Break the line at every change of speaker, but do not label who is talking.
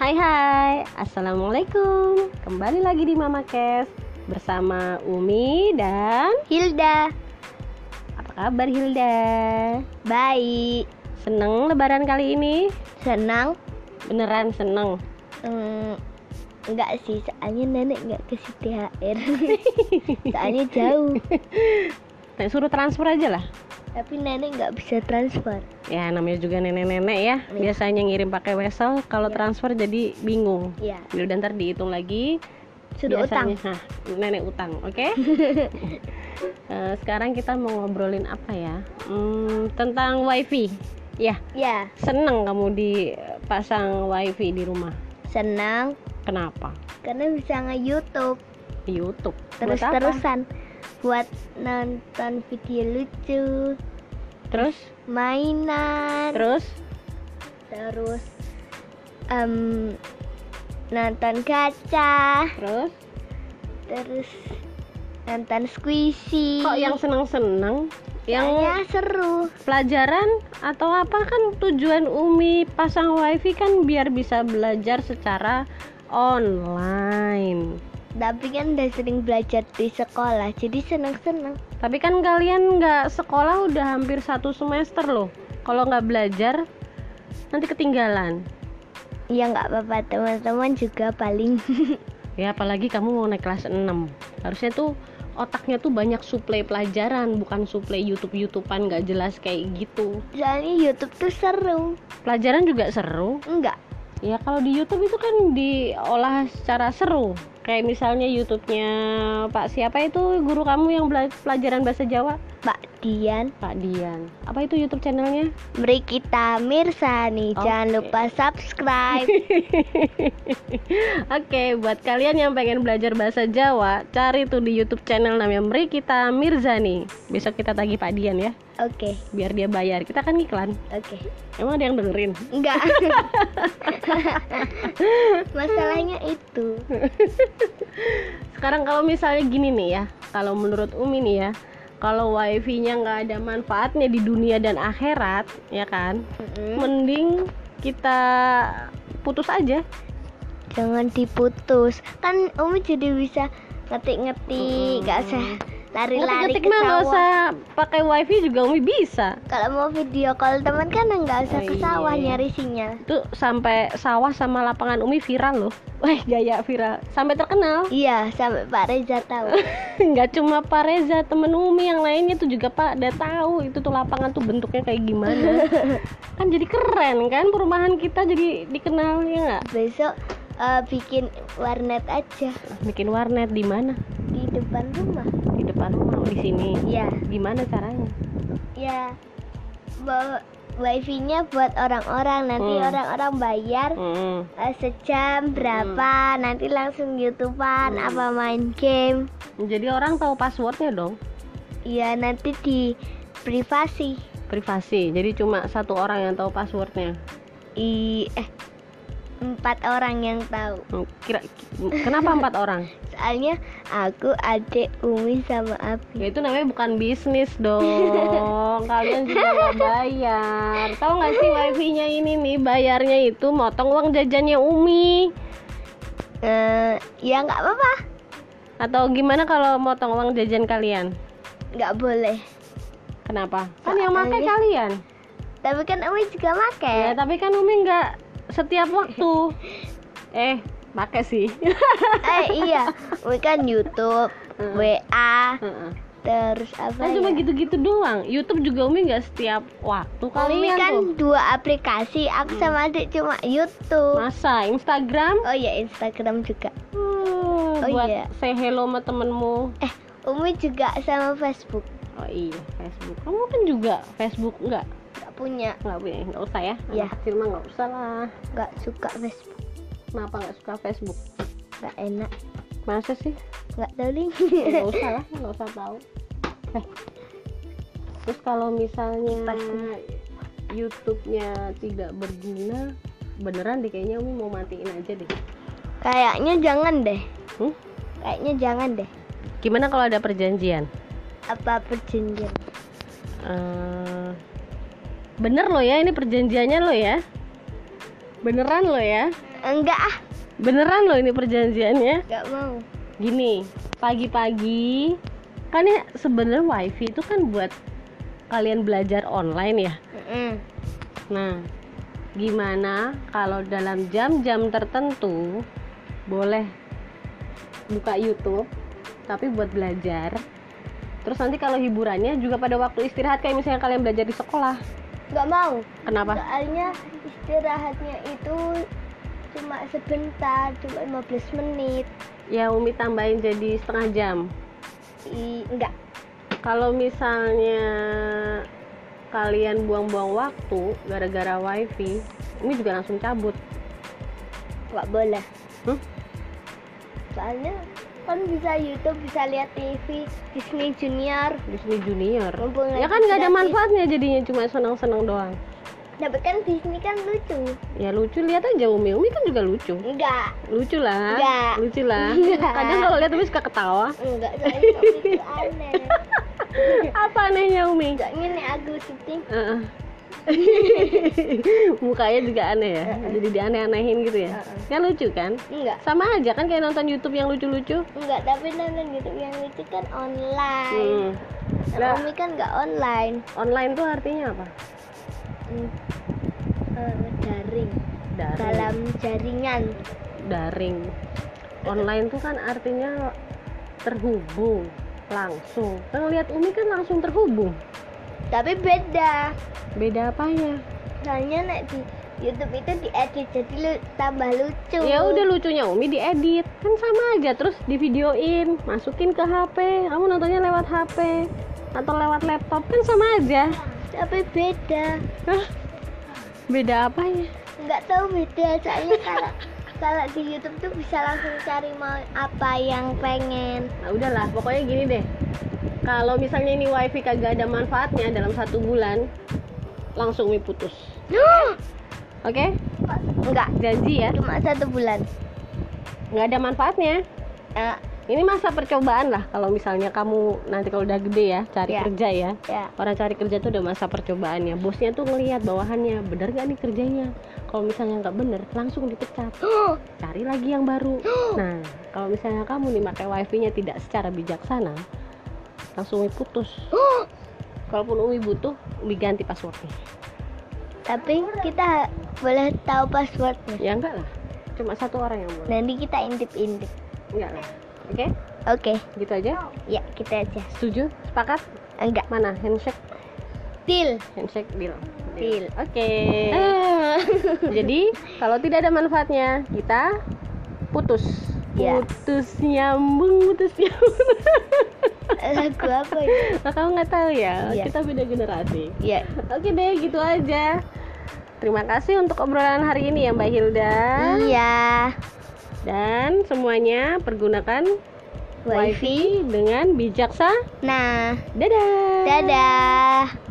Hai hai, Assalamualaikum Kembali lagi di Mama Kes Bersama Umi dan
Hilda,
Apa kabar Hilda?
baik,
Seneng lebaran kali ini?
senang,
Beneran seneng
Hmm, enggak sih, soalnya nenek enggak kasih THR, soalnya jauh,
Nah, Suruh transfer aja lah
tapi nenek enggak bisa transfer.
Ya namanya juga nenek-nenek ya Biasanya ngirim pakai wesel Kalau transfer jadi bingung
Ya,
Ya udah ntar dihitung lagi
sudah utang.
Biasanya, nah, nenek utang, oke? Eh, sekarang kita mau ngobrolin apa ya? Hmm, tentang wifi. Ya,
Ya,
seneng kamu dipasang wifi di rumah.
senang
Kenapa?
karena bisa nge-YouTube
Di YouTube. Buat apa?
terus-terusan buat nonton video lucu,
Terus,
mainan,
terus.
terus em, nonton kaca.
Terus,
terus nonton squishy
kok yang seneng-seneng? Yang
Soalnya seru
pelajaran atau apa kan tujuan Umi pasang wifi kan biar bisa belajar secara online.
tapi kan udah sering belajar di sekolah jadi seneng seneng
Tapi kan kalian nggak sekolah udah hampir satu semester loh. Kalau nggak belajar nanti ketinggalan.
ya nggak apa-apa teman-teman juga paling
Ya apalagi kamu mau naik kelas 6 Harusnya tuh otaknya tuh banyak suplai pelajaran Bukan suplai youtube-youtuban nggak jelas kayak gitu
soalnya YouTube tuh seru
Pelajaran juga seru
enggak
Ya kalau di youtube itu kan diolah secara seru Kayak misalnya youtube-nya Pak siapa itu guru kamu yang bela- pelajaran bahasa Jawa?
Pak Dian
Pak Dian Apa itu youtube channelnya?
beri kita Mirsani jangan
Oke.
lupa subscribe
Oke, buat kalian yang pengen belajar bahasa Jawa, cari tuh di YouTube channel namanya Mri Kita Mirzani. Besok kita tagih Pak Dian ya,
oke
biar dia bayar. Kita kan iklan.
oke
Emang ada yang dengerin?
enggak masalahnya itu
Sekarang kalau misalnya gini nih ya, kalau menurut Umi nih ya, kalau wifi-nya nggak ada manfaatnya di dunia dan akhirat, ya kan?
Mm-mm.
Mending kita putus aja.
jangan diputus kan Umi jadi bisa ngetik-ngetik gak usah lari-lari
Ngetik-ngetik
ke
mah nggak
sawah
usah pakai wifi juga Umi bisa.
kalau mau video call teman kan nggak usah
Oh,
ke
iya,
sawah
iya.
nyari sinyal
itu sampai sawah sama lapangan Umi viral loh. Wah, gaya viral. Sampai terkenal.
iya sampai Pak Reza tahu
Nggak cuma Pak Reza, temen Umi yang lainnya tuh juga Pak udah tahu itu tuh lapangan tuh bentuknya kayak gimana. kan jadi keren kan perumahan kita jadi dikenal ya nggak?
besok eh, bikin warnet aja
Bikin warnet di mana?
di depan rumah
Di depan rumah di sini.
ya
Gimana caranya?
ya bawa wifi-nya buat orang-orang nanti
Hmm.
orang-orang bayar
Hmm.
eh, sejam berapa nanti langsung youtubean
Hmm.
apa main game
Jadi orang tahu passwordnya dong.
Iya nanti di privasi.
Privasi. Jadi cuma satu orang yang tahu passwordnya.
I eh empat orang yang tahu.
Hmm, Kira, kenapa empat orang?
Soalnya aku, adik, Umi sama Abi.
Ya itu namanya bukan bisnis dong. Kalian juga nggak bayar. Tahu nggak sih wifi-nya ini nih bayarnya itu motong uang jajannya Umi.
Eh ya nggak apa-apa,
Atau gimana kalau motong uang jajan kalian?
nggak boleh.
Kenapa? Kan yang pakai
Soalnya-
kalian.
Tapi kan Umi juga
Ya
make.
tapi kan Umi nggak setiap waktu. Eh, pakai sih.
eh iya, Umi kan YouTube, WA,
Heeh.
terus apa?
Hmm. kan cuma
ya?
gitu-gitu doang. YouTube juga Umi nggak setiap waktu
Umi
kalian
kan
tuh.
dua aplikasi, aku
Hmm.
sama adik cuma YouTube.
Masa Instagram?
Oh iya Instagram juga.
Hmm,
Oh,
buat
iya.
say hello sama temenmu
Eh Umi juga sama Facebook.
Oh iya, Facebook. Kamu kan juga Facebook nggak?
Nggak punya,
Nggak punya, nggak usah ya? Anak
Iya.
kecil mah nggak usah lah.
nggak suka Facebook,
Kenapa nggak suka Facebook?
nggak enak.
Masa sih?
nggak tahu nih
Nggak usah lah, nggak usah tahu. Eh. Terus kalau misalnya YouTube-nya tidak berguna, beneran deh kayaknya kamu mau matiin aja deh.
kayaknya jangan deh
Hmm?
kayaknya jangan deh
Gimana kalau ada perjanjian?
apa perjanjian
Eh, bener lo ya, ini perjanjiannya lo ya. Beneran lo ya.
Enggak ah,
Beneran loh ini perjanjiannya.
enggak mau.
gini pagi-pagi kan ya sebenarnya wifi itu kan buat kalian belajar online ya
Mm-mm.
nah gimana kalau dalam jam-jam tertentu boleh buka YouTube tapi buat belajar terus nanti kalau hiburannya juga pada waktu istirahat kayak misalnya kalian belajar di sekolah
Enggak mau.
kenapa
Soalnya istirahatnya itu cuma sebentar, cuma 15 menit.
ya Umi tambahin jadi setengah jam
I, enggak.
kalau misalnya kalian buang-buang waktu gara-gara wifi ini juga langsung cabut
Enggak boleh.
Hmm?
Soalnya kan bisa YouTube, bisa lihat TV, Disney Junior.
Disney Junior
Mumpung
ya
lagi
kan nggak ada
gratis.
manfaatnya jadinya cuma senang-senang doang
Tapi kan Disney kan lucu.
ya lucu lihat aja Umi Umi kan juga lucu
Enggak.
lucu lah
Nggak.
lucu lah
Nggak.
kadang kalau lihat Umi suka ketawa
Enggak, soalnya Umi itu aneh.
apa anehnya Umi
Soalnya nih aku syuting
Heeh. mukanya juga aneh ya jadi dianeh-anehin gitu ya
Heeh.
kan lucu kan
enggak.
sama aja kan kayak nonton YouTube yang lucu-lucu
Enggak, tapi nonton YouTube yang lucu kan
Hmm.
online. Nah,
Lah,
Umi kan enggak online.
online tuh artinya apa
Hmm. Eh, daring.
daring
Dalam jaringan.
daring online tuh kan artinya terhubung langsung kan lihat umi kan langsung terhubung
Tapi beda.
beda apanya
Soalnya nek di YouTube itu diedit jadi lu- tambah lucu.
ya udah lucunya umi diedit kan sama aja terus divideoin masukin ke HP kamu nontonnya lewat HP atau lewat laptop kan sama aja
Tapi beda.
Hah? beda apanya
Enggak tahu beda. Soalnya kalau kalau di YouTube tuh bisa langsung cari mau apa yang pengen.
Nah udahlah, pokoknya gini deh. Kalau misalnya ini wifi kagak ada manfaatnya dalam satu bulan, langsung Umi putus. Oke?
Enggak,
Janji ya,
cuma satu bulan.
nggak ada manfaatnya.
Ya,
Ini masa percobaan lah. Kalau misalnya kamu nanti kalau udah gede ya, cari
Iya.
kerja ya.
ya.
Orang cari kerja tuh udah masa percobaannya. Bosnya tuh ngelihat bawahannya, bener gak nih kerjanya? Kalau misalnya nggak bener, langsung dipecat. Cari lagi yang baru. Nah, kalau misalnya kamu nih pakai wifi-nya tidak secara bijaksana, langsung Umi putus. Kalaupun Umi butuh, Umi ganti passwordnya.
Tapi kita ha- boleh tahu passwordnya.
Ya enggak lah, cuma satu orang yang boleh.
Nanti kita intip-intip.
Enggak lah. Oke,
Oke,
gitu aja.
ya kita aja.
Setuju? Sepakat?
Enggak.
Mana handshake?
Deal.
Handshake deal.
Deal.
Oke. Jadi kalau tidak ada manfaatnya, kita putus.
Ya.
Putus nyambung, putus nyambung.
Lagu apa ya?
Nah, kamu nggak tahu ya,
Iya.
kita beda generasi.
Ya,
Oke deh, gitu aja. Terima kasih untuk obrolan hari ini ya Mbak Hilda.
Iya.
Dan semuanya pergunakan
Wifi.
wifi dengan bijaksa.
Nah,
Dadah.
dadah.